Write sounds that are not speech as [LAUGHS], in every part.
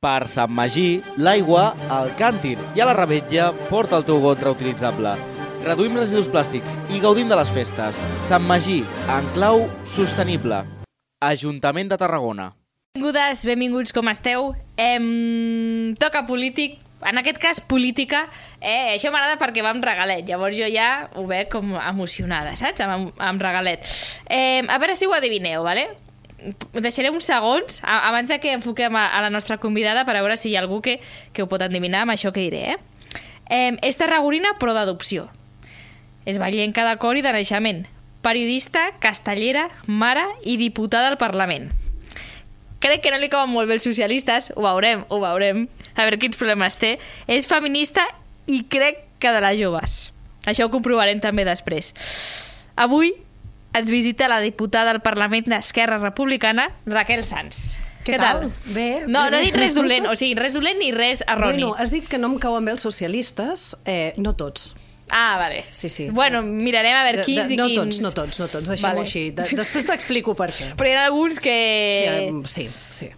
Per Sant Magí, l'aigua al càntir i a la rebetlla porta el teu got reutilitzable. Reduïm residus plàstics i gaudim de les festes. Sant Magí, en clau sostenible. Ajuntament de Tarragona. Benvingudes, benvinguts, com esteu? Em... Toca polític, en aquest cas política, eh, això m'agrada perquè va amb regalet, llavors jo ja ho veig com emocionada, saps? Amb, amb regalet. Eh, a veure si ho adivineu, vale? Deixaré uns segons a- abans de que enfoquem a, a la nostra convidada per a veure si hi ha algú que, que ho pot endevinar amb això que diré, eh? eh és tarragorina però d'adopció. És ballenca de cor i de naixement. Periodista, castellera, mare i diputada al Parlament. Crec que no li cauen molt bé els socialistes, ho veurem, ho veurem, a veure quins problemes té. És feminista i crec que de les joves. Això ho comprovarem també després. Avui ens visita la diputada del Parlament d'Esquerra Republicana, Raquel Sanz. Què tal? Bé, No, no bé, he bé. dit res dolent, o sigui, res dolent ni res erroni. Bueno, has dit que no em cauen bé els socialistes, eh, no tots. Ah, vale. Sí, sí. Bueno, mirarem a veure quins de, i no quins. tots, no tots, no tots, deixem-ho Vale. Eh, vale. així. De, després t'explico per què. Però hi ha alguns que... Sí, em- sí, sí.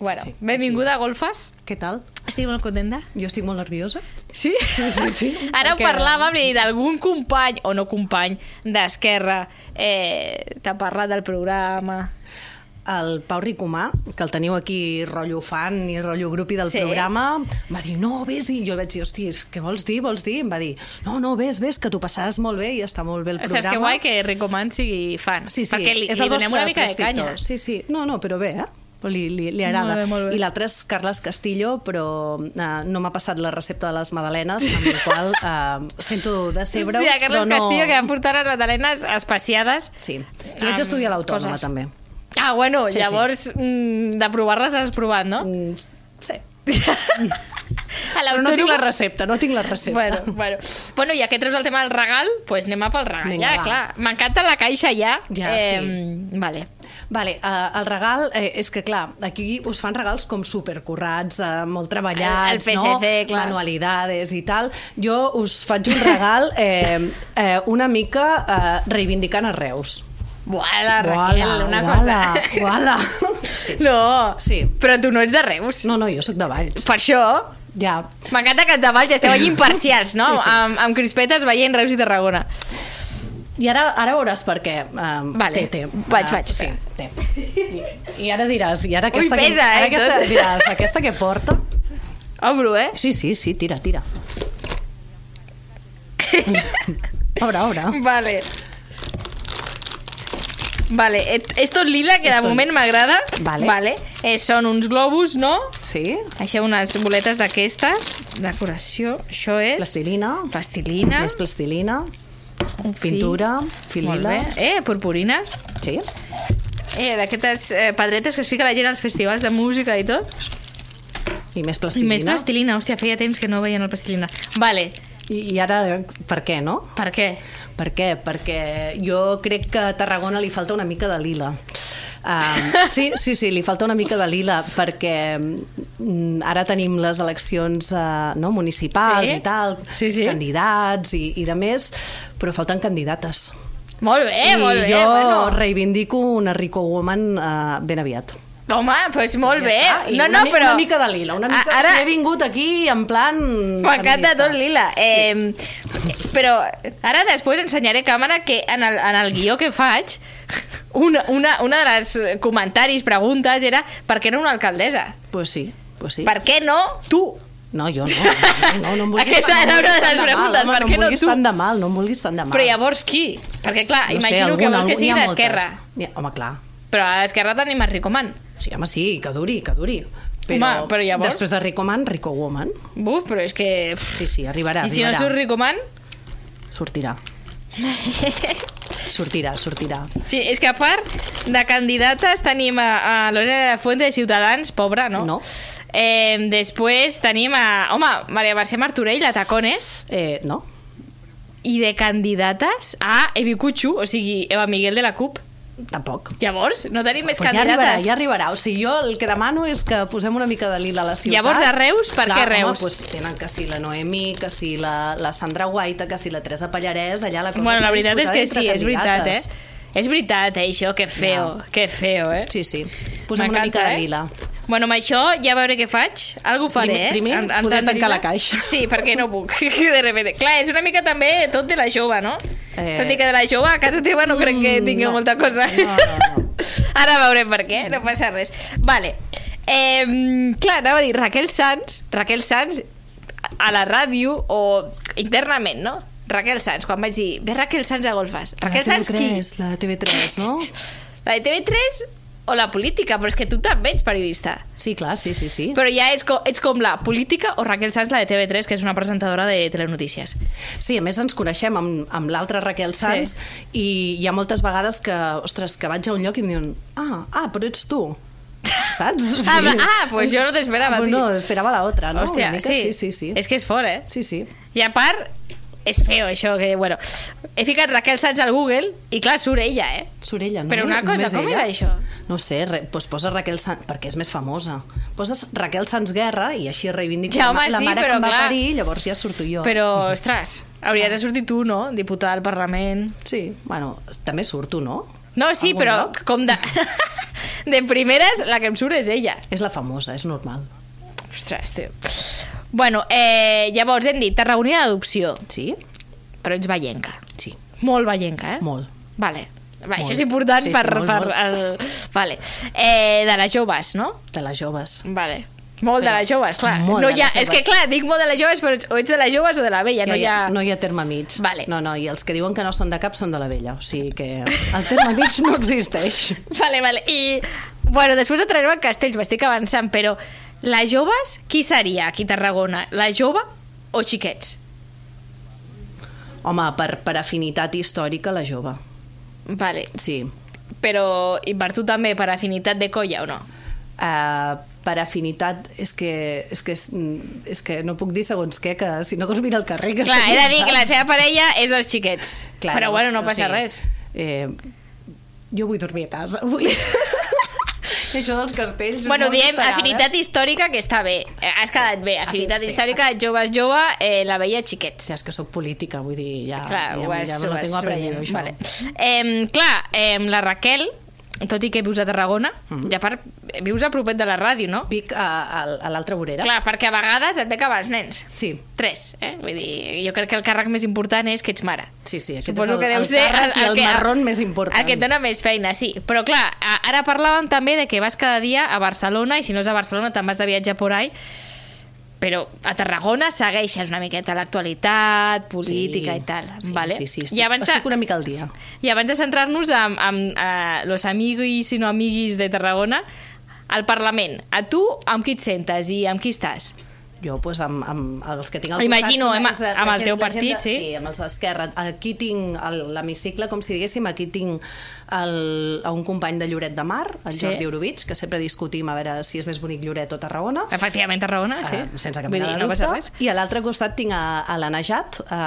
Bueno, sí, sí. benvinguda a Golfes. Què tal? Estic molt contenta. Jo estic molt nerviosa. Sí? Sí, sí, sí. [LAUGHS] Ara ho Perquè- parlàvem i d'algun company, o no company, d'Esquerra, eh, t'ha parlat del programa. El Pau Ricomà, que el teniu aquí rotllo fan i rotllo grupi del Sí. sí. programa, em va dir, no, vés, i jo vaig dir, hòsties, què vols dir, vols dir? Em va dir, no, no, vés, vés, que t'ho passaràs molt bé i està molt bé el O sigui, és programa. que guai que Ricoman sigui fan. Sí, sí, perquè li, és li donem el vostre una mica de prescriptor. canya. Sí, sí, no, no, però bé, eh? Li, li, li agrada. Molt bé, molt bé. I l'altre és Carles Castillo, però eh, no m'ha passat la recepta de les magdalenes, amb la qual eh, sento decebre-us, Hòstia, però Carles no... Castillo, que van portar les batalenes espaciades. Sí, jo vaig Amb estudiar a l'autònoma, coses. també. Ah, bueno, Sí, sí. llavors, mm, de provar-les has provat, no? Mm, [LAUGHS] sí, A però no tinc la l'autònoma- recepta, no tinc la recepta. [LAUGHS] Bueno, bueno. bueno, ja que treus el tema del regal, doncs pues anem a pel regal. Vinga, ja, va. clar. M'encanta la caixa ja. Ja, sí. Vale. Vale, eh, el regal eh, és que, clar, aquí us fan regals com supercurrats, eh, molt treballats, El- el PSC, no? clar. manualidades i tal. Jo us faig un regal eh, eh, una mica eh, reivindicant a Reus. Uala, Raquel, una uala, [LAUGHS] cosa. Uala. Sí. No, Sí. però tu no ets de Reus. No, no, jo sóc de Valls. Per això, Ja. m'encanta que els de Valls [LAUGHS] esteu allà imparcials, no? Sí, sí. Amb, amb crispetes veient Reus i Tarragona. I ara, ara veuràs per què. Um, Vale. Té, té. Vaig, Ah, vaig, Sí, espera. té. I, I ara diràs... I ara Ui, aquesta pesa, eh, que, ara aquesta, tot. diràs, aquesta que porta... Obro, eh? Sí, sí, sí, tira, [LAUGHS] tira. Obre, obre. Vale. Vale, et- és tot lila, que de És tot- moment m'agrada. Vale. vale. Eh, són uns globus, no? Sí? Això, unes boletes d'aquestes. Decoració. Això és... Plastilina. Plastilina. Més plastilina. un fil. Pintura. Molt Filila. bé. Eh, purpurina. Sí. Eh, d'aquestes eh, pedretes que es fica la gent als festivals de música i tot. I més I plastilina. més plastilina, hòstia, feia temps que no veien el plastilina. Vale, I, I ara, per què, no? per què? Per què? Perquè jo crec que a Tarragona li falta una mica de lila. [LAUGHS] Uh, sí, sí, sí, li falta una mica de lila perquè mm, ara tenim les eleccions uh, no, municipals Sí. i tal, Sí, sí. els candidats i, i de més, però falten candidates. Molt bé, I Eh, molt bé. jo bueno. reivindico una rico woman uh, ben aviat. Home, doncs pues molt Ja bé. està, i no, una, no, mi- però... una mica de lila, una mica... A- Ara... Ara Si he vingut aquí en plan... m'encanta feminista. tot lila. Eh, Però ara després ensenyaré a càmera que en el, en el guió que faig, [LAUGHS] una, una, una de les comentaris, preguntes, era per què no una alcaldessa? Pues sí, pues sí. Per què no tu? No, jo [LAUGHS] no. No, no em vulguis Aquesta tan- no em era una de vulguis les tan de mal, preguntes, home, per què no no em vulguis tu? tan de mal, no em vulguis tan de mal. Però llavors qui? Perquè clar, No sé, imagino que alguna- vol que n'hi sigui ha moltes. d'esquerra. N'hi ha- Home, clar. Però a l'esquerra tenim el Ricoman. Sí, home, sí, que duri, que duri. Home, però llavors- Després de Rico Man, Rico Woman. Buf, però és que... pff, Sí, sí, arribarà, I si no arribarà. surt Ricoman... [LAUGHS] Sortirà. sortirà, sortirà. Sí, és que a part de candidates tenim a, a Lorena de la Fuente de Ciutadans, pobra, no? No. Eh, després tenim a... Home, Maria Mercè Martorell, a Tacones. Eh, no? I de candidates a Evi Cutxu, o sigui, Eva Miguel de la CUP. Tampoc. Llavors, no tenim més Pues ja candidates. arribarà, ja arribarà. O sigui, jo el que demano és que posem una mica de lila a la ciutat. Llavors, a Reus, per Clar, què Reus? Home, doncs tenen que si la Noemi, que si la, la Sandra Guaita, que si la Teresa Pallarès, allà la cosa Bueno, està la veritat és disputada que sí, entre és veritat, eh? candidates. És veritat, eh, això, que feo, Ja. que feo, eh? Sí, sí. Posem una M'encanta, mica de eh? lila. Bueno, amb això ja veuré què faig. Algú faré, Primer- eh? primer Amb- amb podré tanta tancar vida. la caixa. [LAUGHS] Sí, perquè no puc. de repente. Clar, és una mica també tot de la jove, no? Eh. Eh... Tot i que de la jove a casa teva no crec que Mm, tingui no. molta cosa. No, no, no. [LAUGHS] Ara veurem per què, no passa res. Vale. Eh, clar, anava a dir Raquel Sanz, Raquel Sanz a la ràdio o internament, no? Raquel Sanz, quan vaig dir, ve Raquel Sanz a golfes. Raquel la Sanz qui? TV3, la TV3, no? La de TV3 o la política, però és que tu també ets periodista. Sí, clar, sí, sí, sí. Però ja ets com, ets com la política o Raquel Sanz, la de TV3, que és una presentadora de telenotícies. Sí, a més ens coneixem amb, amb l'altra Raquel Sanz i hi ha moltes vegades que, ostres, que vaig a un lloc i em diuen ah, ah, però ets tu, [LAUGHS] saps? O Ah, sigui, ah, pues jo no t'esperava, Ah, pues no, tio. esperava la otra, no? Hòstia, Una mica, sí. sí, sí, sí. És que és fort, eh? Sí, sí. I a part, és feo això, que, bueno... He ficat Raquel Sanz al Google i, clar, surt ella, eh? Sorella, no? Però una cosa, Només com ella? és això? No ho sé, re, doncs posa Raquel Sanz, perquè és més famosa. Poses Raquel Sanz Guerra i així reivindico Ja, la ma- home, la sí, mare però que em va clar. parir, llavors ja surto jo. Però, ostres, hauries de sortir tu, no? Diputada al Parlament... Sí, bueno, també surto, no? No, sí, Algun però lloc? com de... [LAUGHS] de primeres, la que em surt és ella. És la famosa, és normal. Ostres, tio. Bueno, eh, llavors hem dit Tarragonina d'adopció, Sí? però ets ballenca. Sí, Molt ballenca, eh? molt. Vale. Va, Molt. això és important Sí, sí, per... molt, per molt. El... Vale. Eh, de les joves, no? De les joves. Vale. Molt de Però les joves, clar. molt no de hi ha, les és que, joves. clar, dic molt de les joves, però ets- o ets de les joves o de la vella, no hi ha... no hi ha terme mig. Vale. No, no, i els que diuen que no són de cap són de la vella. O sigui que el terme mig no existeix. Vale, vale. I, bueno, després entrarem en Castells, m'estic avançant, però les joves, qui seria aquí a Tarragona? La jove o xiquets? Home, per, per afinitat històrica, la jove. Vale. Sí. Però, i per tu també, per afinitat de colla o no? Uh, per afinitat, és que, és, que, és, és que no puc dir segons què, que si no dormiré al carrer... Que Clar, estic he de dir cansat. que la seva parella és els xiquets. Clar, però, llavors, bueno, no passa o sigui, res. Eh, jo vull [LAUGHS] dormir a casa, avui. I això dels castells... és Bueno, molt diem sagrat, eh? afinitat històrica, que està bé. Eh, Has quedat bé. Afinitat Afi- sí. històrica, joves, jove, eh, la vella, xiquets. Ja és que sóc política, vull dir, ja, Clar, ja, ho has, ja ho Ah, me lo has tengo aprendido, sobrellevat. això. Vale. Eh, clar, eh, la Raquel, tot i que vius a Tarragona, Mm. i a part eh, vius a propet de la ràdio, no? Vic a, a, a l'altra vorera. Clar, perquè a vegades et ve que vas nens. Sí, Tres, eh? Vull dir, jo crec que el càrrec més important és que ets mare. sí, sí. Aquest Suposo és el, que deu el ser càrrec i el, que- marrón més important. El que et dona més feina, sí. Però clar, a- ara parlàvem també de que vas cada dia a Barcelona i si no és a Barcelona te'n vas de viatge por ahí. Però a Tarragona segueixes una miqueta l'actualitat, política i tal. Sí, vale? sí, sí. Estic, I abans, de- estic una mica al dia. i abans de centrar-nos en, en eh, los amiguis i no amiguis de Tarragona, al Parlament, a tu amb qui et sentes i amb qui estàs? Jo, doncs, amb, amb els que tinc al Imagino, costat... amb- és la- la amb el gent- teu la gent partit, de- sí. Sí, amb els d'Esquerra. Aquí tinc el- l'hemicicle, com si diguéssim, aquí tinc el, a un company de Lloret de Mar, el Sí. Jordi Orovitz, que sempre discutim a veure si és més bonic Lloret o Tarragona. Efectivament, Tarragona, Ah, sí. Eh, sense cap Vull mena dir, de no dubte. passa res. I a l'altre costat tinc a, a la Najat, a,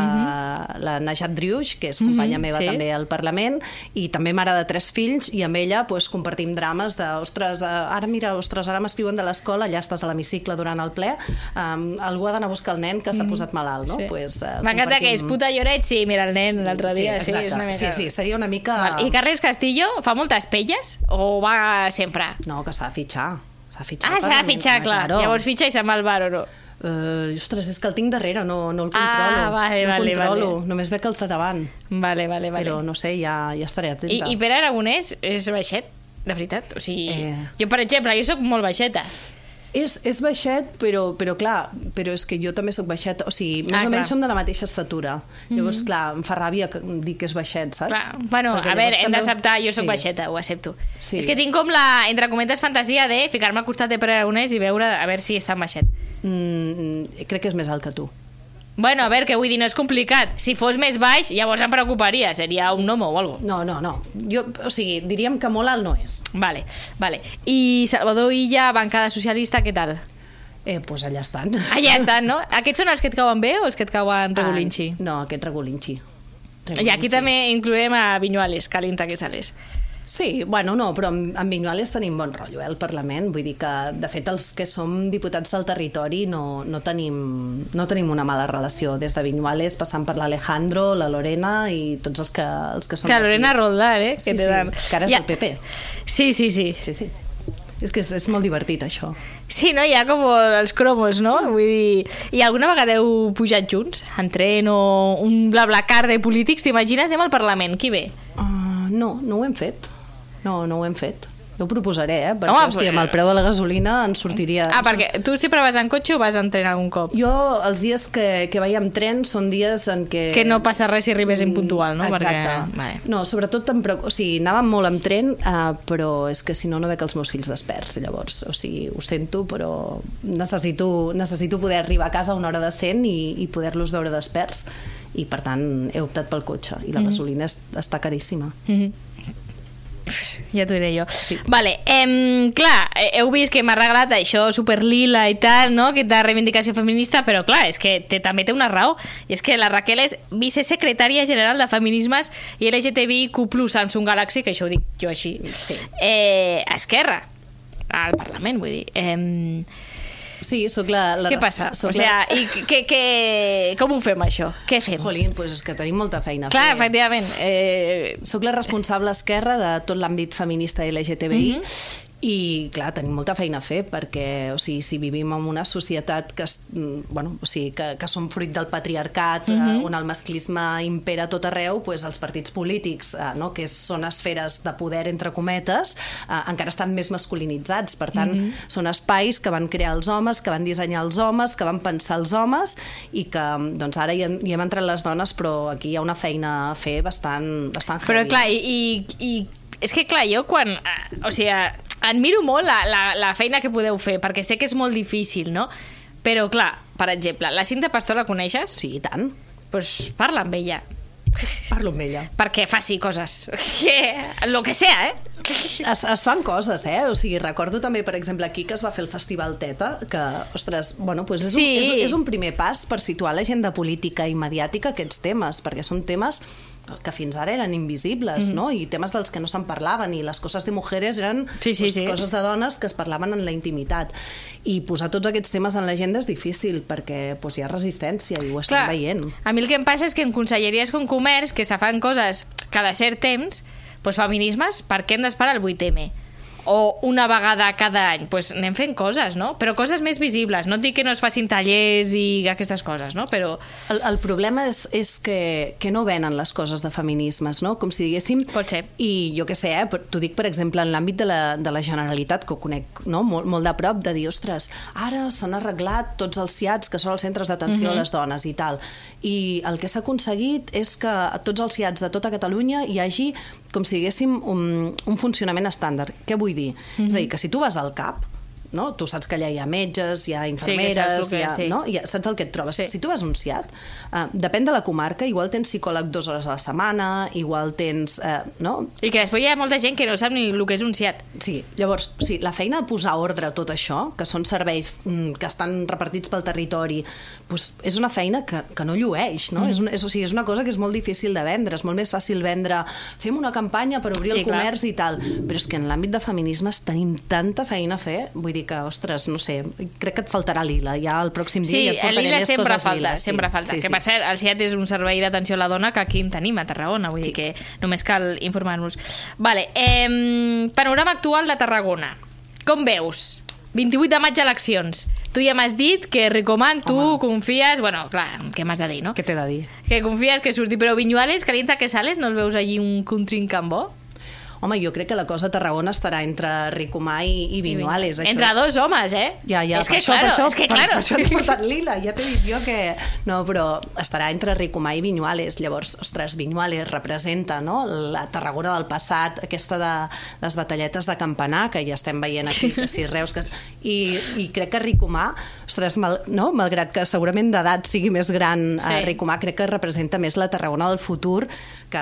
la Najat Driuix, que és companya Mhm, meva sí. també al Parlament, i també mare de tres fills, i amb ella pues, compartim drames de, ostres, eh, ara mira, ostres, ara m'escriuen de l'escola, ja estàs a l'hemicicle durant el ple, um, algú ha d'anar a buscar el nen que s'ha posat malalt, no? Mm, Sí. Pues, eh, M'encanta que compartim- és puta lloret, sí, mira el nen l'altre dia, sí, exacte. és una mica... Sí, sí, seria una mica... Val. I Carles Castillo fa moltes pelles o va sempre? No, que s'ha de fitxar. S'ha de fitxar Ah, al s'ha de Parlament, fitxar, ah, clar. claro. Llavors fitxa i se'n va al bar o no? Eh, ostres, és que el tinc darrere, no, no el Ah, controlo. vale, no el vale, controlo, vale. només veig el de davant. Vale, vale, vale. Però no sé, ja, ja estaré atenta. I, I Pere Aragonès és baixet, de veritat? O sigui, eh. Eh. jo, per exemple, jo sóc molt baixeta. És, és baixet, però, però clar, però és que jo també sóc baixeta, o sigui, més Ah, o clar. Mhm. menys som de la mateixa estatura. Llavors, clar, em fa ràbia que- dir que és baixet, saps? Clar, bueno, Perquè a veure, llavors hem també- d'acceptar, jo sóc sí. sí. baixeta, ho accepto. Sí. Sí. És que tinc com la, entre cometes, fantasia de ficar-me al costat de Pere Aragonès i veure a veure si està en baixet. Mm, mm, crec que és més alt que tu. Bueno, a veure, que vull dir, no és complicat. Si fos més baix, llavors em preocuparia, seria un gnomo o algo. No, no, no. Jo, o sigui, diríem que molt alt no és. Vale, vale. I Salvador Illa, bancada socialista, què tal? Eh, doncs allà estan. Allà [LAUGHS] estan, no? Aquests són els que et cauen bé o els que et cauen regulinxi? Ah, no, aquest regulinxi. I aquí també incloem a Viñuales, calenta que sales. Sí, bueno, no, però amb, amb Vinyuales tenim bon rotllo, eh, al Parlament. Vull dir que, de fet, els que som diputats del territori no, no, tenim, no tenim una mala relació. Des de Vinyuales, passant per l'Alejandro, la Lorena i tots els que, els que són Que Lorena d'aquí. Roldán, eh? Que Sí, te sí, dan. que ara és Ja- del PP. Sí, sí, sí. Sí, sí. És que és, és molt divertit, això. Sí, no? Hi ha com els cromos, no? Vull dir, i alguna vegada heu pujat junts? En tren o un blablacar de polítics? T'imagines? Anem al Parlament, qui ve? Uh, no, no ho hem fet. No, no ho hem fet. Jo ho proposaré, eh? Perquè, Home, Home, hòstia, amb però- el preu de la gasolina en sortiria... Ah, perquè tu sempre vas en cotxe o vas en tren algun cop? Jo, els dies que, que vaig amb tren són dies en què... Que no passa res si arribes impuntual, no? Eh, Mm, Exacte. Perquè... Vale. No, sobretot em preocup... O sigui, anàvem molt amb tren, eh, però és que si no, no veig els meus fills desperts, llavors. O sigui, ho sento, però necessito, necessito poder arribar a casa a una hora decent i, i poder-los veure desperts. I, per tant, he optat pel cotxe. I la mm -hmm. gasolina es, està caríssima. Mhm. Ja t'ho diré jo. Vale, em, clar, eh, heu vist que m'ha regalat això superlila i tal, no? Que de reivindicació feminista, però clar, és que té, també té una raó. I és que la Raquel és vicesecretària general de Feminismes i LGTBIQ+, Samsung Galaxy, que això ho dic jo així, Sí. eh, a Esquerra, al Parlament, vull dir. Em, Sí, sóc la... la què passa? O sóc sigui, la- i que, que, com ho fem, això? Què fem? Jolín, pues és que tenim molta feina. a Clar, fer. efectivament. Eh, Soc la responsable esquerra de tot l'àmbit feminista LGTBI i, clar, tenim molta feina a fer perquè, o sigui, si vivim en una societat que, es- mm, bueno, o sigui, que, que som fruit del patriarcat, mm -hmm. on el masclisme impera a tot arreu, doncs els partits polítics, eh, no, que són esferes de poder, entre cometes, eh, encara estan més masculinitzats. Per tant, mm -hmm. són espais que van crear els homes, que van dissenyar els homes, que van pensar els homes i que, doncs, ara hi hem, hi hem entrat les dones, però aquí hi ha una feina a fer bastant, bastant Però heavy. clar, i, i, i és que clar, jo quan... eh, O sigui, admiro molt la, la, la feina que podeu fer, perquè sé que és molt difícil, no? Però clar, per exemple, la Cinta Pastor la coneixes? Sí, i tant. Doncs pues parla amb ella, Parlo amb ella. perquè faci coses. [LAUGHS] Que- Lo que sea, eh? Es, es fan coses, eh? O sigui, recordo també, per exemple, aquí que es va fer el Festival Teta, que, ostres, bueno, doncs és, Sí. un, és, és un primer pas per situar l'agenda política i mediàtica aquests temes, perquè són temes que fins ara eren invisibles, mm -hmm. no? I temes dels que no se'n parlaven, i les coses de mujeres eren Sí, sí, sí. coses de dones que es parlaven en la intimitat. I posar tots aquests temes en l'agenda és difícil, perquè doncs, hi ha resistència, i ho estem Clar, veient. a mi el que em passa és que en conselleries com comerç, que se fan coses cada cert temps, doncs feminismes, per què hem d'esperar el 8M? O una vegada cada any? Doncs anem fent coses, no? Però coses més visibles. No et dic que no es facin tallers i aquestes coses, no? Però El, el problema és, és que, que no venen les coses de feminismes, no? Com si diguéssim... Pot ser. I jo què sé, eh? però T'ho dic, per exemple, en l'àmbit de, la, de la Generalitat, que ho conec no? molt, molt de prop, de dir, ostres, ara s'han arreglat tots els CIATs, que són els centres d'atenció mm Mhm. -hmm. a les dones i tal. I el que s'ha aconseguit és que a tots els CIATs de tota Catalunya hi hagi, com si diguéssim, un, un funcionament estàndard. Què vull dir? Mm -hmm. Mhm. És a dir, que si tu vas al CAP, no? tu saps que allà hi ha metges, hi ha saps el que- infermeres, hi ha, sí. no? I saps el que et trobes. Sí. Sí. Si tu vas un CIAT, eh, depèn de la comarca, igual tens psicòleg dues hores a la setmana, igual tens... Eh, no? I que després hi ha molta gent que no sap ni el que és un SIAT. Sí, llavors, sí, la feina de posar ordre a tot això, que són serveis mm, que estan repartits pel territori, doncs és una feina que, que no llueix, no? Mm. És, una, és, o sigui, és una cosa que és molt difícil de vendre, és molt més fàcil vendre fem una campanya per obrir Sí, el clar. comerç i tal, però és que en l'àmbit de feminismes tenim tanta feina a fer, vull dir que, ostres, no sé, crec que et faltarà l'Ila, ja el pròxim dia Sí, ja et portaré l'ILA més sempre coses falta, liles, sí. sempre falta. Sí, que sí. per cert, el SIAT és un servei d'atenció a la dona que aquí en tenim, a Tarragona, vull dir Sí. que només cal informar-nos. Vale, eh, panorama actual de Tarragona. Com veus? 28 de maig eleccions. Tu ja m'has dit que Ricoman, tu Home. confies... Bueno, clar, què m'has de dir, no? Què t'he de dir? Que confies que surti, però Vinyuales, calienta que sales, no el veus allí un contrincant bo? Home, jo crec que la cosa a Tarragona estarà entre Ricomà i, i Vinuales. això. Entre dos homes, eh? Ja, ja, és que, per això, claro, per això, és que, per, claro. per això t'he portat l'Ila, ja t'he dit jo que... No, però estarà entre Ricomà i Vinyuales. Llavors, ostres, Vinyuales representa no? la Tarragona del passat, aquesta de les batalletes de Campanar, que ja estem veient aquí, [LAUGHS] que si Reus... Que... I, I crec que Ricomà, ostres, mal, no? malgrat que segurament d'edat sigui més gran eh, sí. Sí. Ricomà, crec que representa més la Tarragona del futur, que,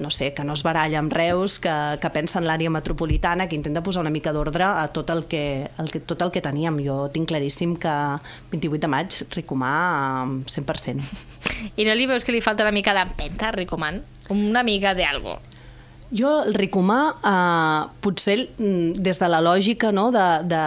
no sé, que no es baralla amb Reus, que, que pensa en l'àrea metropolitana, que intenta posar una mica d'ordre a tot el, que, el que, tot el que teníem. Jo tinc claríssim que 28 de maig, Ricomà, eh, 100%. I no li veus que li falta una mica d'empenta, Ricoman? Una mica de algo. Jo, el Ricomà, eh, potser mm, des de la lògica no, de, de,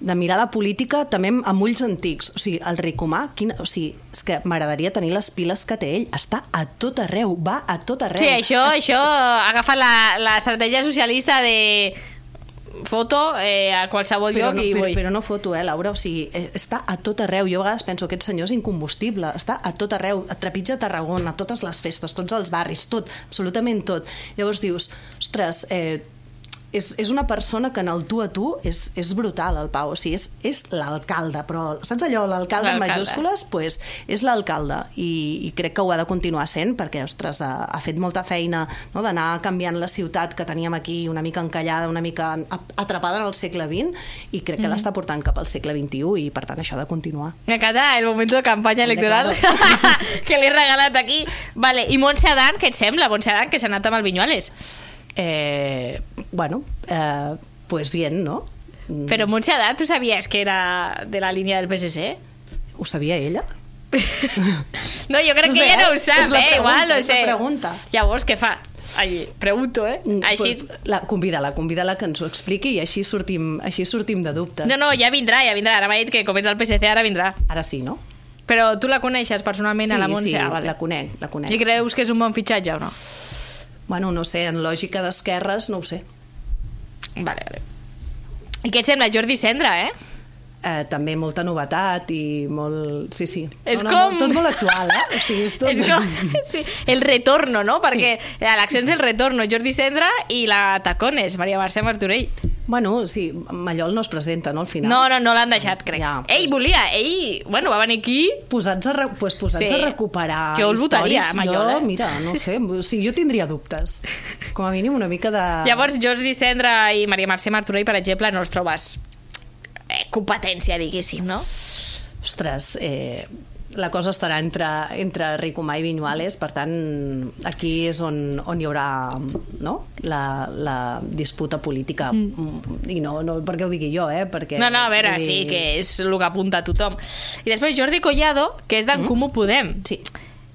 de mirar la política també amb, amb ulls antics. O sigui, el Ricomà, quina, o sigui, és que m'agradaria tenir les piles que té ell. Està a tot arreu, va a tot arreu. Sí, això, això agafa la- l'estratègia socialista de foto eh, a qualsevol Però lloc no, i però, vull... però no foto, eh, Laura? O sigui, eh, està a tot arreu. Jo a vegades penso que aquest senyor és incombustible. Està a tot arreu. Et trepitja Tarragona, totes les festes, tots els barris, tot, absolutament tot. Llavors dius, ostres, eh, és, és una persona que en el tu a tu és, és brutal, el Pau. O sigui, és, és l'alcalde, però saps allò, l'alcalde en L'alcalde. majúscules, pues, és l'alcalde i, i crec que ho ha de continuar sent perquè, ostres, ha, ha fet molta feina no? d'anar canviant la ciutat que teníem aquí una mica encallada, una mica ap- atrapada en el segle XX i crec Mhm. que l'està portant cap al segle XXI i per tant això ha de continuar. Me encanta el momento de campaña electoral [LAUGHS] que li he regalat aquí. Vale, i Montse Adán, què et sembla? Montse Adán, que s'ha anat amb el Vinyuales. Eh, bueno, eh, pues bien, ¿no? Mm, Però Montse Adán, tu sabies que era de la línia del PSC? Ho sabia ella? No, jo crec No que sé, ella no ho eh? sap, És la eh? pregunta, Igual, no és la sé. pregunta. Llavors, què fa? Ai, pregunto, eh? Mm, Així... pues, La, convida-la, convida-la que ens ho expliqui i així sortim, així sortim de dubtes. No, no, ja vindrà, ja vindrà. Ara m'ha dit que comença el PSC, ara vindrà. Ara sí, no? Però tu la coneixes personalment, a la Montse? sí, Ah, vale. la conec, la conec. I creus que és un bon fitxatge o no? Bueno, no sé, en lògica d'esquerres, no ho sé. Vale, vale. I què et sembla, Jordi Sendra, eh? Eh, també molta novetat i molt... Sí, sí. És no, com- No, tot molt actual, eh? O [LAUGHS] sigui, és tot... És [LAUGHS] com, sí, el retorno, no? Perquè sí. l'acció és el retorno, Jordi Sendra i la Tacones, Maria Mercè Martorell. Bueno, sí, Mallol no es presenta, no, al final? No, no, no l'han deixat, crec. Ja, Ja, Ell pues- volia, ell, bueno, va venir aquí... Posats a, re... pues posats Sí. a recuperar Jo el votaria, històrics, Mallol, jo, eh? mira, no ho sé, o sigui, jo tindria dubtes. Com a mínim una mica de... [LAUGHS] Llavors, Jordi Sendra i Maria Mercè Martorell, per exemple, no els trobes eh, competència, diguéssim, no? Ostres, eh, la cosa estarà entre, entre Ricomà i Vinyuales, per tant, aquí és on, on hi haurà no? la, la disputa política. Mm. I no, no perquè ho digui jo, eh? Perquè, No, no, a veure, vull sí, dir- que és el que apunta tothom. I després Jordi Collado, que és d'en mm. Comú Podem. Sí.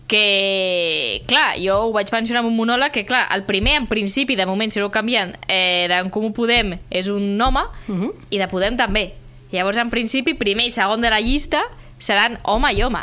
que, clar, jo ho vaig mencionar en un monòleg, que clar, el primer, en principi, de moment, si no ho canviant, eh, d'en Comú Podem és un home, Mhm. i de Podem també. Llavors, en principi, primer i segon de la llista seran home i home.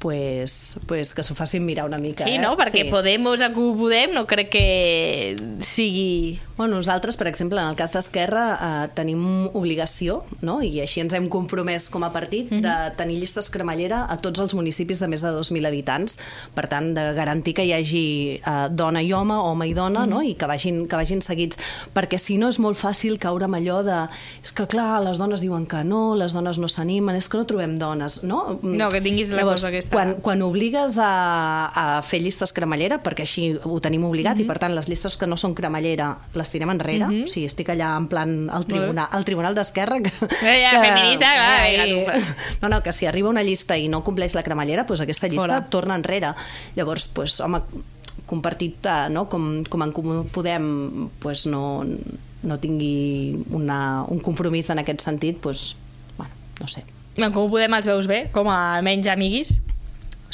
Pues, pues que s'ho facin mirar una mica. Sí, eh? no? Perquè Podemos en Comú Podem no crec que sigui... Bueno, nosaltres, per exemple, en el cas d'Esquerra eh, tenim obligació, no? i així ens hem compromès com a partit, mm -hmm. Mhm. de tenir llistes cremallera a tots els municipis de més de 2.000 habitants. Per tant, de garantir que hi hagi eh, dona i home, home i dona, mm -hmm. Mhm. no? i que vagin, que vagin seguits. Perquè si no és molt fàcil caure amb allò de... És que, clar, les dones diuen que no, les dones no s'animen, és que no trobem dones, no? No, que tinguis la cosa aquesta. Quan, quan obligues a, a fer llistes cremallera, perquè així ho tenim obligat, mm Mhm. -hmm. i per tant les llistes que no són cremallera les tirem enrere, mm -hmm. o sigui, estic allà en plan al tribunal, al tribunal d'Esquerra... Que, Eh, ja, feminista, clar, vinga, tu. No, no, que si arriba una llista i no compleix la cremallera, doncs aquesta llista Fora. Fora. torna enrere. Llavors, doncs, home, compartit eh, no? com, com en Comú Podem doncs no, no tingui una, un compromís en aquest sentit, doncs, bueno, no sé. En Comú Podem els veus bé, com a menys amiguis?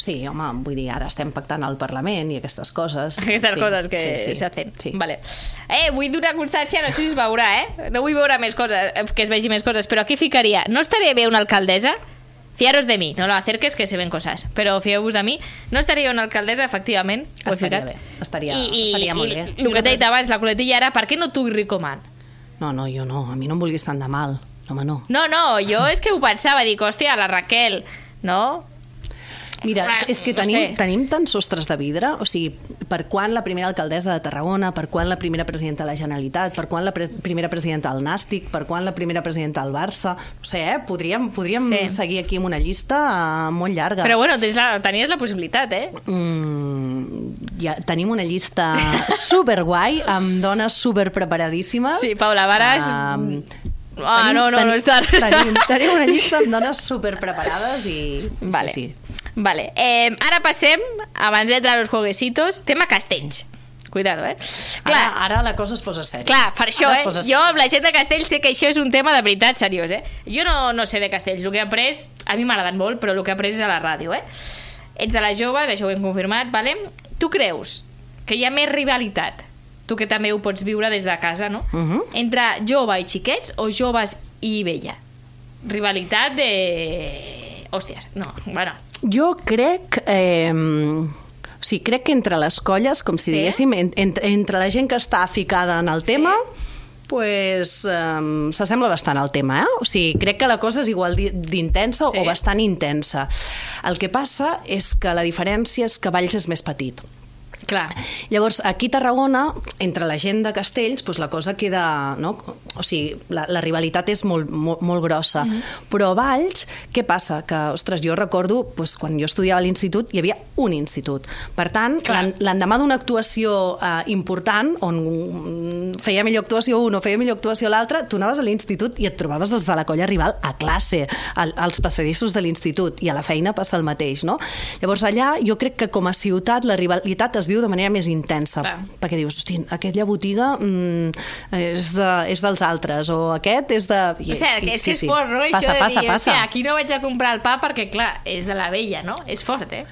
Sí, home, vull dir, ara estem pactant al Parlament i aquestes [LAUGHS] coses. Aquestes sí, coses que sí, sí, s'hacen. Sí. Vale. Eh, vull donar constància, no sé si es veurà, eh? No vull veure més coses, eh, que es vegi més coses, però aquí ficaria, no estaria bé una alcaldesa? Fiaros de mi, no lo acerques que se ven cosas, però fieu-vos de mi. No estaria bé una alcaldesa, efectivament. ho he Estaria ficat. bé, estaria- estaria molt bé. I el que t'he dit abans, la coletilla era, per què no tu i Ricoman? No, no, jo no, a mi no em vulguis tant de mal. Home, no. No, no, jo és que ho pensava, dic, hòstia, la Raquel, no? Mira, Ah, és que no tenim, sé. tenim tants sostres de vidre, o sigui, per quan la primera alcaldessa de Tarragona, per quan la primera presidenta de la Generalitat, per quan la pre primera presidenta del Nàstic, per quan la primera presidenta del Barça, no sé, eh? podríem, podríem Sí. sí. seguir aquí amb una llista eh, molt llarga. Però bueno, tens la, tenies la possibilitat, eh? Mm, ja tenim una llista [LAUGHS] superguai amb dones superpreparadíssimes. Sí, Paula Varas, Am, ah, no, no, no està. Tenim, tenim [LAUGHS] una llista amb dones superpreparades i... Vale. Sí, Vale. Eh, ara passem, abans d'entrar als jueguecitos, tema castells. Cuidado, eh? sí. Clar, Ara, ara la cosa es posa sèria. clar per això, Ara es eh? posa Jo amb la gent de castells sé que això és un tema de veritat seriós, eh? Jo no, no sé de castells. El que he après, a mi m'ha agradat molt, però el que he après és a la ràdio, eh? Ets de les joves, això ho hem confirmat, vale? Tu creus que hi ha més rivalitat, tu que també ho pots viure des de casa, no? Mhm. Entre jove i xiquets o joves i vella? Rivalitat de... Hòsties, no, bueno, Jo crec... Eh, o sigui, crec que entre les colles, com si Sí? diguéssim, en, entre, entre la gent que està ficada en el tema, sí. pues, um, s'assembla bastant al tema, eh? O sigui, crec que la cosa és igual di- d'intensa Sí. sí. o bastant intensa. El que passa és que la diferència és que Valls és més petit. Clar. Llavors, aquí a Tarragona, entre la gent de Castells, doncs la cosa queda... No? O sigui, la, la rivalitat és molt, molt, molt grossa. Mm -hmm. Però a Valls, què passa? Que, ostres, jo recordo, doncs, quan jo estudiava a l'institut, hi havia un institut. Per tant, Clar. l'en- l'endemà d'una actuació eh, important, on mm, feia millor actuació un o feia millor actuació l'altre, tu anaves a l'institut i et trobaves els de la colla rival a classe, al, als passadissos de l'institut, i a la feina passa el mateix, no? Llavors, allà, jo crec que com a ciutat la rivalitat es viu de manera més intensa, Clar. perquè dius, hosti, aquella botiga mm, és, de, és dels altres, o aquest és de... I- O sigui, i- que és que és fort, no? Això Passa, de passa, dir, passa. Hòstia, aquí no vaig a comprar el pa perquè, clar, és de la vella, no? És fort, eh?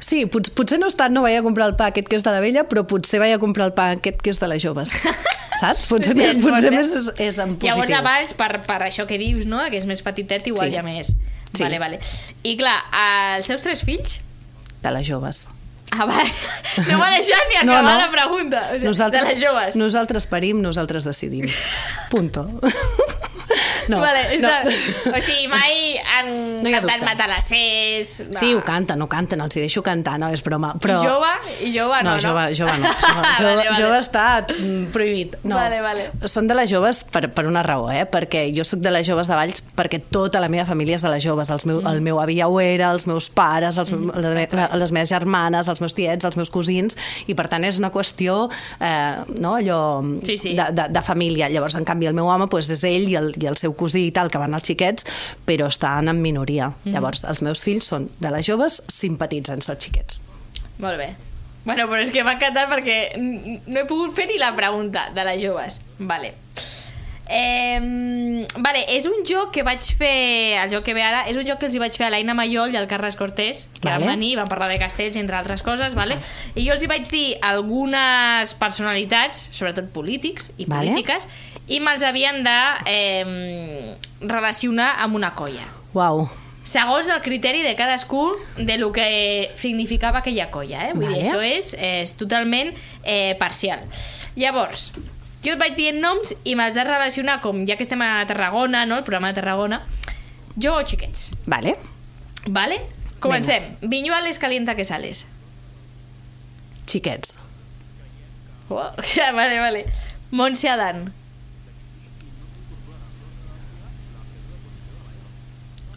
Sí, pot, potser no estat, no vaig a comprar el pa aquest que és de la vella, però potser vaig a comprar el pa aquest que és de les joves. [LAUGHS] Saps? Potser, Sí, més, és potser fort, eh? més és, és en positiu. Llavors, a Valls, per, per això que dius, no? Que és més petitet, igual Sí. sí. ja més... Sí. Vale, vale. I clar, els seus tres fills... De les joves. Ah, [LAUGHS] va, no m'ha deixat ni acabar la pregunta. O sigui, de les joves. Nosaltres parim, nosaltres decidim. Punto. [LAUGHS] No, vale, no. està... O sigui, mai han No hi ha cantat dubte. matalassers... va. Sí, ho canten, ho canten, els hi deixo cantar, no, és broma. Però... I jove, i jove Ah, no, no? jove, jove [LAUGHS] no. Jove, jove, vale, vale. jove està mm, prohibit. No. Vale, vale. Són de les joves per, per una raó, eh? Perquè jo sóc de les joves de Valls perquè tota la meva família és de les joves. Els meu, mm. El meu avi ja ho era, els meus pares, els, mm. les, me, les meves germanes, els meus tiets, els meus cosins, i per tant és una qüestió, eh, no, allò Sí, sí. De, de, de família. Llavors, en canvi, el meu home doncs, és ell i el, i el seu cosí i tal, que van als xiquets, però estan en minoria. Mm. Llavors, els meus fills són de les joves simpatitzants dels xiquets. Molt bé. Bueno, però és que m'ha encantat perquè n- no he pogut fer ni la pregunta de les joves. Vale. Eh, vale, és un joc que vaig fer el joc que ve ara, és un joc que els hi vaig fer a l'Aina Mayol i al Carles Cortés que vale. Vale. van venir i van parlar de castells entre altres coses, vale? i jo els hi vaig dir algunes personalitats sobretot polítics i Vale. polítiques i me'ls havien de eh, relacionar amb una colla Uau, segons el criteri de cadascú de lo que significava aquella colla, eh? Vull dir, Vale. això és, eh, és totalment eh, parcial. Llavors, jo et vaig dient noms i m'has de relacionar com, ja que estem a Tarragona, no?, el programa de Tarragona, jo o xiquets, vale. vale? Comencem. Vinga. Viñuales calienta que sales. Xiquets. Oh, [LAUGHS] vale, vale. Montse Adán.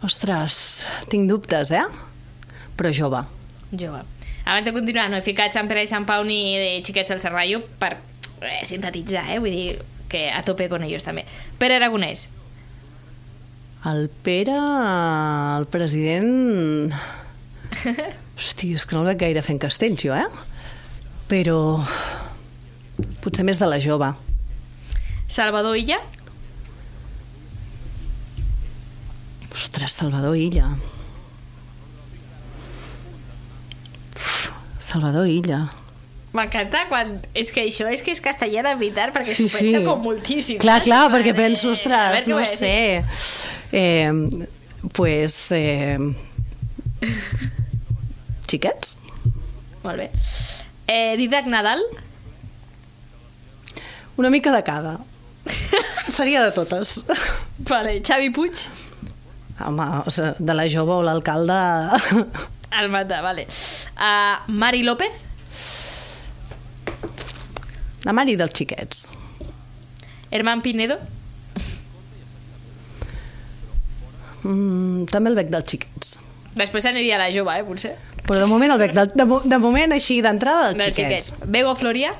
Ostres, tinc dubtes, eh? Però jove. Jove. Abans de continuar, no he ficat Sant Pere i Sant Pau ni de xiquets del Serrallo per eh, sintetitzar, eh? Vull dir que a tope con ellos també. Pere Aragonès. El Pere, el president... Hosti, és que no el veig gaire fent castells, jo, eh? Però potser més de la jove. Salvador Illa. Ostres, Salvador Illa. Uf, Salvador Illa. M'encanta quan... És que això és que és castellà de veritat, perquè s'ho pensa com moltíssim. Clar, saps? clar, Mare, perquè penso, a veure ostres, què no voy a dir. sé. Eh, pues... Eh, xiquets? Molt bé. Eh, Didac Nadal. Una mica de [LAUGHS] cada. Seria de totes. Vale. Xavi Puig. Home, o sigui, de la jove o l'alcalde... El mata, vale. Uh, Mari López. La mare dels xiquets. Herman Pinedo. Mm, també el bec dels xiquets. Després aniria a la jove, eh, potser. Però de moment el bec del, de, mo- de moment així d'entrada dels Del xiquets. xiquet. Bego Floria.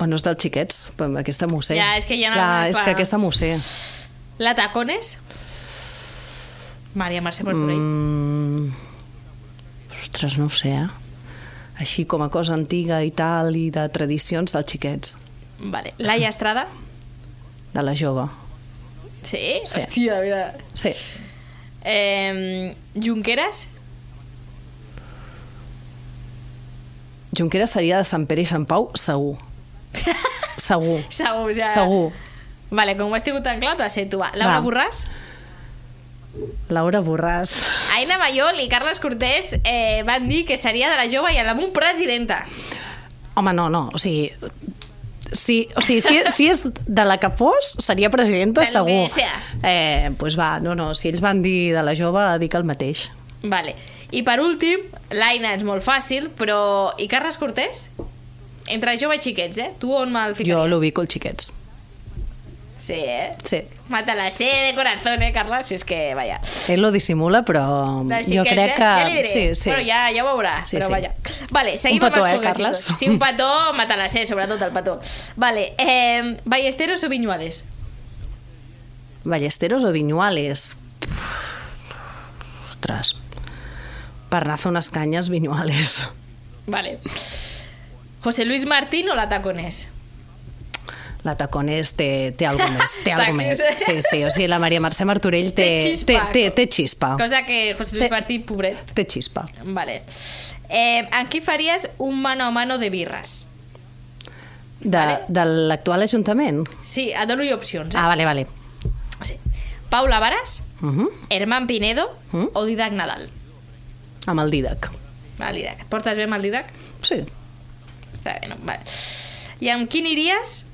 Bueno, és dels xiquets, però aquesta m'ho sé. Ja, és que hi ha Clar, algunes, és clar. que aquesta m'ho sé. La Tacones. Maria Mercè Martorell. Mm. Mm, ostres, no ho sé, eh? Així com a cosa antiga i tal, i de tradicions dels xiquets, Vale. Laia Estrada. de la jove. Sí? Sí. Hòstia, mira. Sí. Eh, Junqueras. Junquera seria de Sant Pere i Sant Pau, [LAUGHS] segur. Segur. Segur, ja... Segur. Vale, com ho has tingut tan clar, t'ho sento. Va. Laura Va. Borràs, Laura Borràs. Aina Mayol i Carles Cortés eh, van dir que seria de la jove i el damunt presidenta. Home, no, no, o sigui, Sí, o sigui, [LAUGHS] si, si és de la que fos, seria presidenta De lo que segur. sea. Eh, pues va, no, no, si ells van dir de la jove, dic el mateix. Vale. I per últim, l'Aina és molt fàcil, però... I Carles Cortés? Entre jove i xiquets, eh? Tu on me'l Jo ficaries? l'ubico els xiquets. Sí, eh? Sí. Mata la sé de corazón, eh, Carles? Si és que, vaja... Ell ho dissimula, però Dels Mm, jo xiquets, crec eh? que... Ja li diré. sí, sí. Bueno, ja, ja ho veurà, sí, Sí, però sí. sí. vaja. Vale, seguim amb petó, els eh, progressius. Carles? Sí, un petó, mata la sé, sobretot el petó. Vale, eh, Ballesteros o Viñuales? Ballesteros o Viñuales? Ostres. Per anar a fer unes canyes, Viñuales. Vale. José Luis Martín o la Tacones? La Tacones té, [LAUGHS] té alguna més, té algo més. Tacones. Sí, sí, o sigui, la Maria Mercè Martorell Té té, té, xispa. té, té xispa. Cosa que José Luis Té- Martín, pobret. Té xispa. Vale. Eh, amb qui faries un mano a mano de birres? De, vale. de l'actual Ajuntament? Sí, et dono jo opcions. Eh? Ah, vale, vale. Ah. Sí. Paula Varas, Uh -huh. Herman Pinedo Mm. o Didac Nadal? Amb el Didac. Vale, Didac. Et Portes bé amb el Didac? Sí. Està bé, no? Vale. I amb qui aniries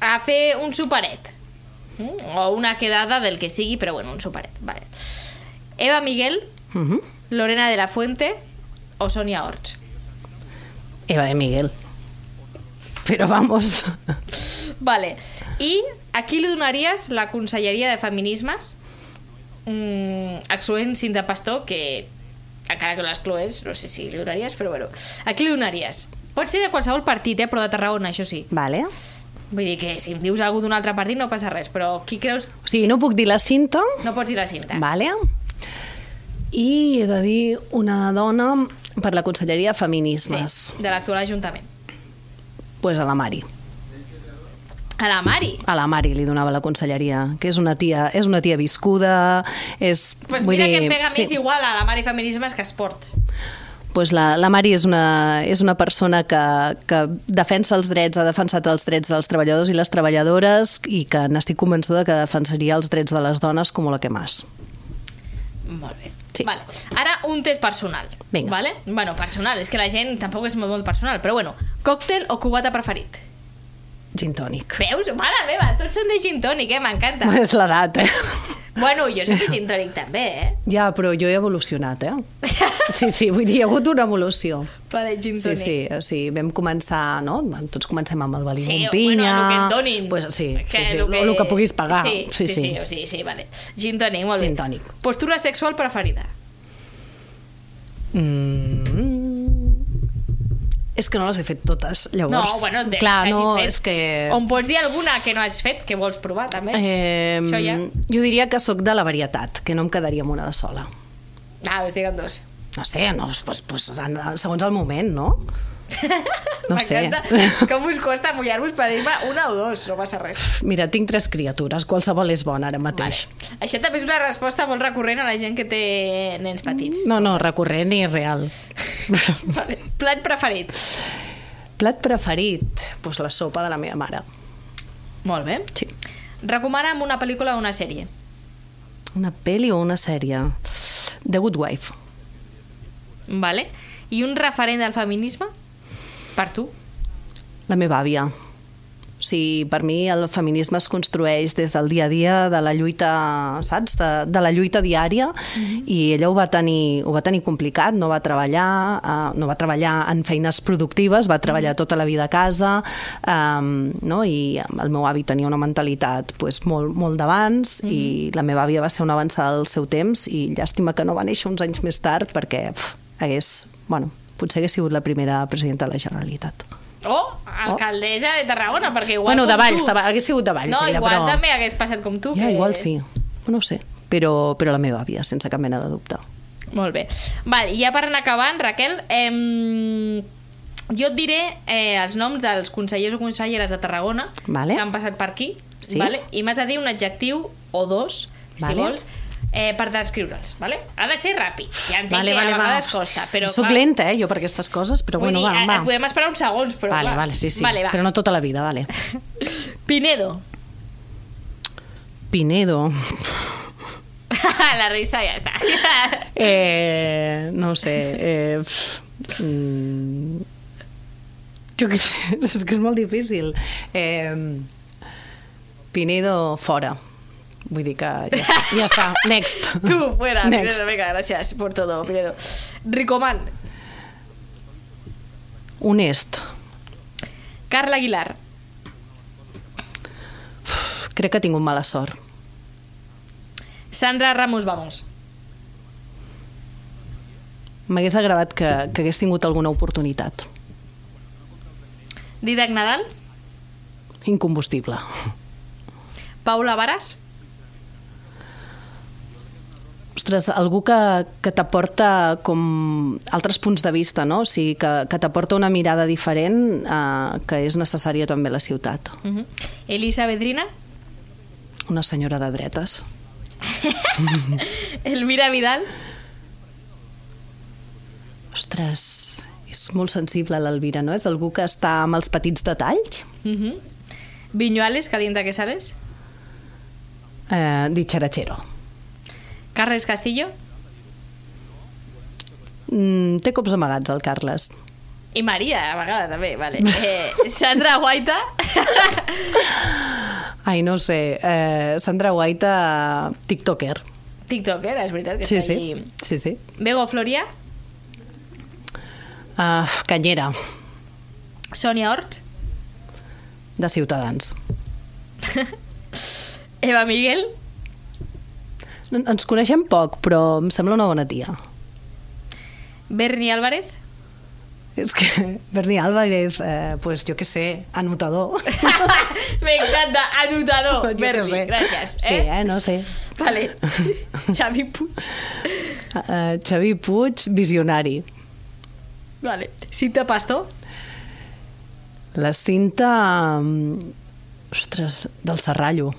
a fer un superet? Mm? O una quedada del que sigui, però bueno, un superet. Vale. Eva Miguel, Uh -huh. Lorena de la Fuente o Sonia Orts? Eva de Miguel. Però vamos... Vale. I a qui li donaries la Conselleria de Feminismes? Mm, excloent Cinta Pastor, que encara que l'excloés, no sé si li donaries, però bueno. A qui li donaries? Pot ser de qualsevol partit, eh? però de Tarragona, això sí. Vale. Vull dir que si em dius algú d'un altre partit no passa res, però qui creus O sigui, no puc dir la cinta, no pots dir la cinta? Vale. I he de dir una dona per la Conselleria de Feminismes, Sí, sí. de l'actual Ajuntament. pues a la Mari. A la Mari. A la Mari li donava la conselleria, que és una tia, és una tia viscuda, és... Pues mira dir, que em pega sí. més igual a la Mari Feminismes que Esport. Pues la, la Mari és una, és una persona que, que defensa els drets, ha defensat els drets dels treballadors i les treballadores i que n'estic convençuda que defensaria els drets de les dones com la que més. Molt bé. Sí. Vale. Ara un test personal. Vinga. Vale? Bueno, personal, és que la gent tampoc és molt, molt personal, però bueno, còctel o cubata preferit? Gin tònic. Veus? Mare meva, tots són de gin tònic, eh? M'encanta. [LAUGHS] És l'edat, eh? Bueno, jo soc de gin tònic també, eh? Ja, però jo he evolucionat, eh? Sí, sí, vull dir, hi ha hagut una evolució. Vale, gin Sí, tònic. sí, o sigui, vam començar, no? Tots comencem amb el valí Sí, amb pinya... bueno, el que et donin. Pues, sí, sí, sí, lo el que... que puguis pagar. Sí, sí, sí, sí, o sigui, sí vale. Gin tònic, molt Gin bé. tònic. Postura sexual preferida. Mm. És que no les he fet totes, No, llavors. bueno, de, Clar, que hagis no, fet. és que... On pots dir alguna que no has fet, que vols provar, també? Eh, Això ja. Jo diria que sóc de la varietat, que no em quedaria amb una de sola. Ah, us diguen dos. No sé, no, pues, pues, segons el moment, no? [LAUGHS] No sé. M'encanta Com us costa mullar-vos per dir-me una o dos, no passa res. Mira, tinc tres criatures, qualsevol és bona ara mateix. Vale. Això també és una resposta molt recurrent a la gent que té nens petits. No, no, recurrent i real. Mm. Vale. Plat preferit. [LAUGHS] Plat preferit? Pues la sopa de la meva mare. Molt bé. Sí. Recomana'm una pel·lícula o una sèrie. Una pel·li o una sèrie? The Good Wife. Vale. I un referent del feminisme? Per tu? La meva àvia. O sigui, per mi el feminisme es construeix des del dia a dia, de la lluita, saps? De, de la lluita diària, i ella ho va tenir, ho va tenir complicat, no va treballar, eh, no va treballar en feines productives, va treballar tota la vida a casa, eh, no? i el meu avi tenia una mentalitat pues, molt, molt d'abans, i la meva àvia va ser una avançada del seu temps, i llàstima que no va néixer uns anys més tard, perquè pf, hagués, bueno, potser hagués sigut la primera presidenta de la Generalitat. O alcaldessa de Tarragona, perquè igual Bueno, com de Valls, tu. de, Valls, hagués sigut de Valls. No, ella, igual però... també hagués passat com tu. Ja, que- igual sí. No ho sé. Però, però la meva àvia, sense cap mena de dubte. Molt bé. Val, i ja per anar acabant, Raquel, eh, jo et diré eh, els noms dels consellers o conselleres de Tarragona Vale. que han passat per aquí, Sí. vale? i m'has de dir un adjectiu o dos, si Vale. vols, eh, per descriure'ls. Vale? Ha de ser ràpid, ja entenc que a vegades costa. Però, Soc clar, lenta, eh, jo, per aquestes coses, però vull bueno, dir, va, a- va. et podem esperar uns segons, però... Vale, clar. vale, sí, sí. Vale, va. Però no tota la vida, vale. Pinedo. [LAUGHS] Pinedo. la risa ja [LAUGHS] està. Eh, no ho sé. Eh, pff, mm, Jo què sé, [LAUGHS] és que és molt difícil. Eh, Pinedo, fora. Vull dir que ja està, ja està. [LAUGHS] next. Tú, fuera. Next. Pinedo, venga, gracias por todo, Pinedo. Ricomán, Honest. Carla Aguilar, Crec que he tingut mala sort. Sandra Ramos Vamos, M'hagués agradat que, que hagués tingut alguna oportunitat. Didac Nadal, Incombustible. Paula Varas, Ostres, algú que, que t'aporta com altres punts de vista, no? O sigui, que, que t'aporta una mirada diferent eh, que és necessària també a la ciutat. ujú, Elisa Bedrina, Una senyora de dretes. Elvira Vidal, Ostres, és molt sensible l'Elvira, no? És algú que està amb els petits detalls? ujú, Viñuales, Calienta que sales, Eh, dicharachero. Carles Castillo Mm, té cops amagats, el Carles. i Maria, a vegades també, vale. [LAUGHS] Eh, Sandra Guaita, Ai, no ho sé. Eh, Sandra Guaita, tiktoker. TikToker, és veritat que Sí, està sí. allí. sí, sí. Bego Floria, eh, Uh, canyera, Sonia Orts, de Ciutadans. Eva Miguel, En- Ens coneixem poc, però em sembla una bona tia. Berni Álvarez, [LAUGHS] És que [LAUGHS] Berni Álvarez, eh, pues, jo què sé, [LAUGHS] anotador. M'encanta, anotador, [LAUGHS] Jo què Berni, sé. gràcies. Sí, eh, no sé. [LAUGHS] Vale. Xavi Puig. Uh, Xavi Puig, visionari. Vale. Cinta Pastor. La cinta... mm, Ostres, del Serrallo.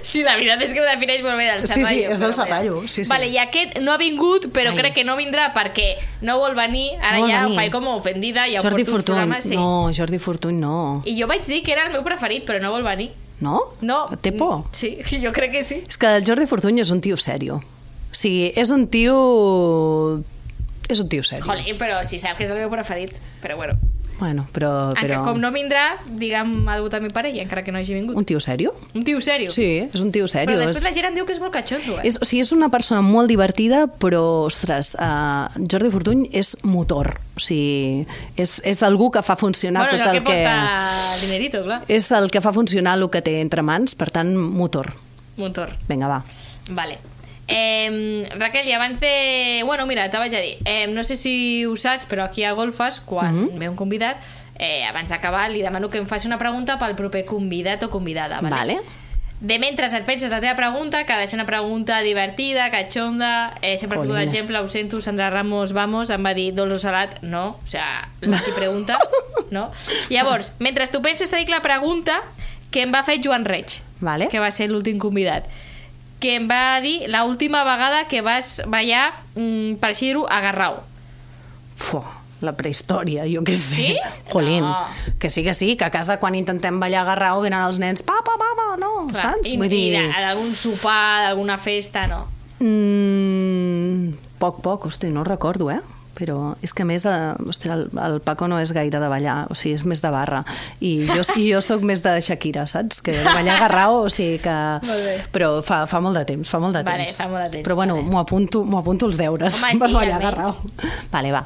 Sí, la veritat és que ho defineix molt bé del Sí, Serrallo. sí, és però del bé. Serrallo, sí, sí. Vale, i aquest no ha vingut, però Ai. crec que no vindrà perquè no vol venir. Ara No vol ja ho venir. faig com a ofendida. Ja ho Jordi porto als Fortuny. programes, sí. No, Jordi Fortuny no. I jo vaig dir que era el meu preferit, però no vol venir. No? No. Té por? Sí, [LAUGHS] sí, jo crec que sí. És que el Jordi Fortuny és un tio serio. O sigui, és un tio... És un tio serio. Joder, però si sap que és el meu preferit. Però bueno, Bueno, però... Encara, Oh, però... com no vindrà, digue'm ha dut a mi pare i encara que no hagi vingut. Un tio serio? Un tio serio. Sí, és un tio serio. Però després és- la gent em diu que és molt catxondo, eh? És, o sigui, és una persona molt divertida, però, ostres, uh, Jordi Fortuny és motor. O sigui, és, és algú que fa funcionar bueno, és tot el el, que porta dinerito, clar. És el que fa funcionar el que té entre mans, per tant, motor. Motor. Vinga, va. Vale. Eh, Raquel, i abans de... Bueno, mira, te vaig a dir. Eh, no sé si ho saps, però aquí a Golfes, quan mm -hmm. ve un convidat, eh, abans d'acabar li demano que em faci una pregunta pel proper convidat o convidada. Ah, Vale? Vale. De mentre et penses la teva pregunta, que ha de ser una pregunta divertida, catxonda... Eh, sempre Jolines. Jolines. fico d'exemple, ho sento, Sandra Ramos, vamos, em va dir dolç o salat, no, o sea, l'antipregunta, no? Llavors, mentre tu penses, t'he dit la pregunta que em va fer Joan Reig Vale. que va ser l'últim convidat que em va dir la última vegada que vas ballar, mm, per així dir-ho, a Garrau. Fuà, la prehistòria, jo què sé. Sí? Jolín. No. Que sí, que sí, que a casa quan intentem ballar a Garrau venen els nens, papa, mama, no, Clar, Oh, saps? I, Vull dir... I de- d'algun sopar, d'alguna festa, no. Mm, poc, poc, hosti, no ho recordo, eh? Però és que a més, eh, hosti, el, el Paco no és gaire de ballar, o sigui, és més de barra. I jo, i jo sóc més de Shakira, saps? Que de ballar garrao, o sigui que... Molt bé. Però fa, fa molt de temps, fa molt de Vale, temps. fa molt de temps, Però bueno, vale. m'ho apunto, m'ho apunto els deures Home, sí, [LAUGHS] per ballar almenys. garrao. Vale, va.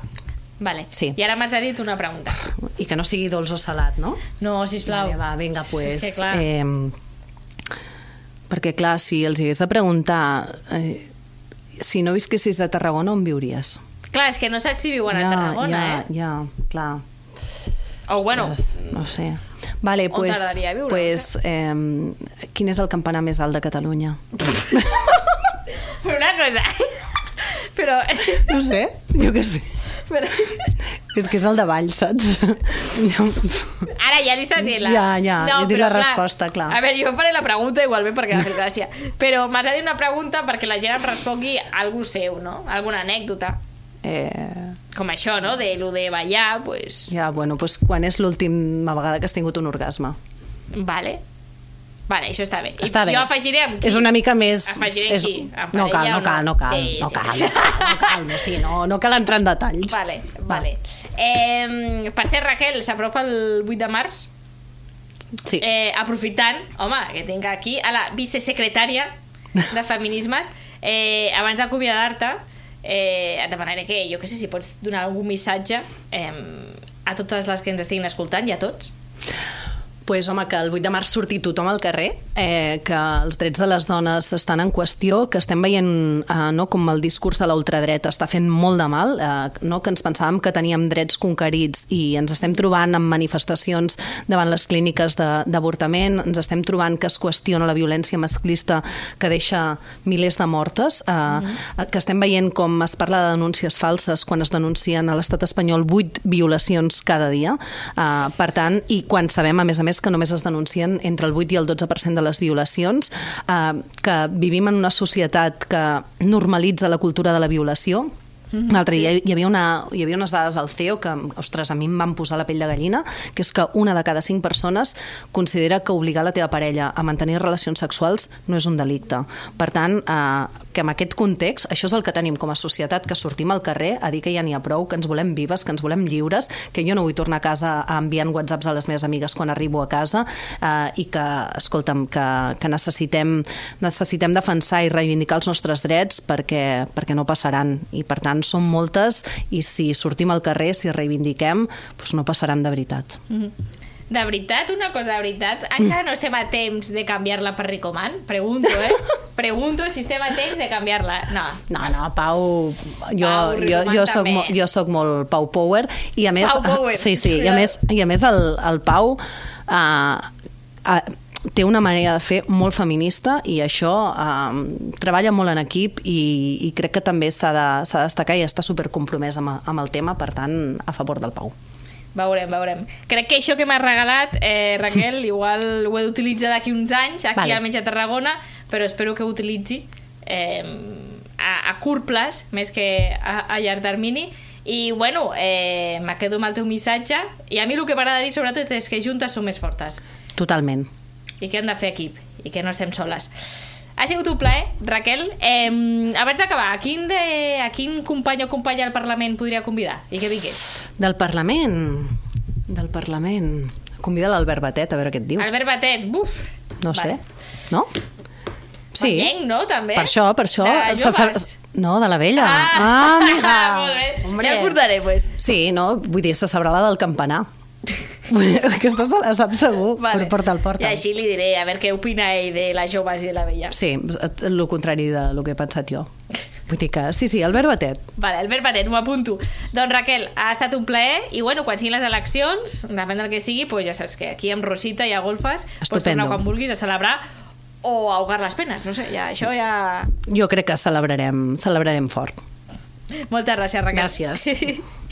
Vale. Sí. I ara m'has de dir tu una pregunta. I que no sigui dolç o salat, no? No, sisplau. Vale, va, vinga, doncs... Pues, És que, clar, eh... eh, perquè, clar, si els hagués de preguntar... Eh, si no visquessis a Tarragona, on viuries? clar, és que no saps si viuen a Tarragona, ja, eh? Ja, clar. O bueno, No sé. Vale, On pues, t'agradaria viure, pues, eh, quin és el campanar més alt de Catalunya? [LAUGHS] però una cosa... [LAUGHS] però... [LAUGHS] No sé, jo què sé. però... És que és el de Vall, saps? No. Ara ja li estàs dient la... Ja, ja, li dic però la resposta, clar. A veure, jo faré la pregunta igualment perquè m'ha fet gràcia. Però m'has de dir una pregunta perquè la gent em respongui algú seu, no? Alguna anècdota. [LAUGHS] Eh, Com això, no? De lo de ballar, pues... ja, bueno, pues, quan és l'última vegada que has tingut un orgasme? Vale. Vale, això està bé. I Està bé. Jo afegiré amb qui? És una mica més... Afegiré és... qui? Amb No cal, parella no o cal, no? no cal. Sí, no, sí. cal no cal, no cal, no, sí, no, no cal entrar en detalls. Vale, vale. Eh, per ser Raquel, s'apropa el 8 de març. Sí. Eh, aprofitant, home, que tinc aquí a la vicesecretària de Feminismes, eh, abans d'acomiadar-te, eh, et demanaré que, jo que sé, si pots donar algun missatge eh, a totes les que ens estiguin escoltant i a tots. Pues home, que el 8 de març surti tothom al carrer, eh, que els drets de les dones estan en qüestió, que estem veient eh, no, com el discurs de la ultradreta està fent molt de mal, eh, no, que ens pensàvem que teníem drets conquerits i ens estem trobant amb manifestacions davant les clíniques de- d'avortament, ens estem trobant que es qüestiona la violència masclista que deixa milers de mortes, eh, que estem veient com es parla de denúncies falses quan es denuncien a l'estat espanyol 8 violacions cada dia, eh, per tant, i quan sabem, a més a més, que només es denuncien entre el 8 i el 12% de les violacions, eh, que vivim en una societat que normalitza la cultura de la violació, L'altre dia hi havia, una, hi havia unes dades al CEO que, ostres, a mi em van posar la pell de gallina, que és que una de cada cinc persones considera que obligar la teva parella a mantenir relacions sexuals no és un delicte. Per tant, eh, que en aquest context, això és el que tenim com a societat, que sortim al carrer a dir que ja n'hi ha prou, que ens volem vives, que ens volem lliures, que jo no vull tornar a casa enviant whatsapps a les meves amigues quan arribo a casa eh, i que, escolta'm, que, que necessitem, necessitem defensar i reivindicar els nostres drets perquè, perquè no passaran i per tant són moltes i si sortim al carrer, si reivindiquem, doncs no passaran de veritat. De veritat, una cosa de veritat, encara no estem a temps de canviar-la per Ricoman? Pregunto, eh? Pregunto si estem a temps de canviar-la. No, No, no, Pau, jo, Pau, jo, Rubén jo, soc, també. mo, jo soc molt Pau Power i a més, Pau Power. Sí, sí, i a més, i a més el, el Pau eh, eh, té una manera de fer molt feminista i això eh, treballa molt en equip i, i crec que també s'ha de, s'ha de destacar i està supercompromès amb, amb el tema, per tant, a favor del Pau. Veurem, veurem. Crec que això que m'has regalat, eh, [LAUGHS] Raquel, igual ho he d'utilitzar d'aquí uns anys, aquí Vale. vale. almenys a Tarragona, però espero que ho utilitzi eh, a, a curt plaç, més que a, a llarg termini. I, bueno, eh, me quedo amb el teu missatge. I a mi el que m'agrada dir, sobretot, és que juntes som més fortes Totalment. i que hem de fer equip i que no estem soles. Ha sigut un plaer, Raquel. Eh, abans d'acabar, a, quin de, a quin company o companya del Parlament podria convidar i que vingués? Del Parlament, del Parlament. Convida l'Albert Batet a veure què et diu. Albert Batet, buf! No sé, Vale. no? Sí. Ballenc, no, també? Per això, per això... De se- se- joves. No, de la vella. Ah, [LAUGHS] amiga! Molt bé. Hombre. Hombre. Ja ho portaré, pues. Sí, no? Vull dir, se sabrà la del campanar. Aquesta se la sap segur, vale. porta'l, I porta'l. així li diré a veure què opina ell de les joves i de la vella. Sí, el contrari de lo que he pensat jo. Vull dir que, sí, sí, Albert Batet. Vale, Albert Batet, m'ho apunto. Doncs Raquel, ha estat un plaer i bueno, quan siguin les eleccions, depèn del que sigui, pues ja saps que aquí amb Rosita i a Golfes pots Estupendo. tornar quan vulguis a celebrar o a ahogar les penes, no sé, ja, això ja... Jo crec que celebrarem, celebrarem fort. Moltes gràcies, Raquel. [LAUGHS] Gràcies.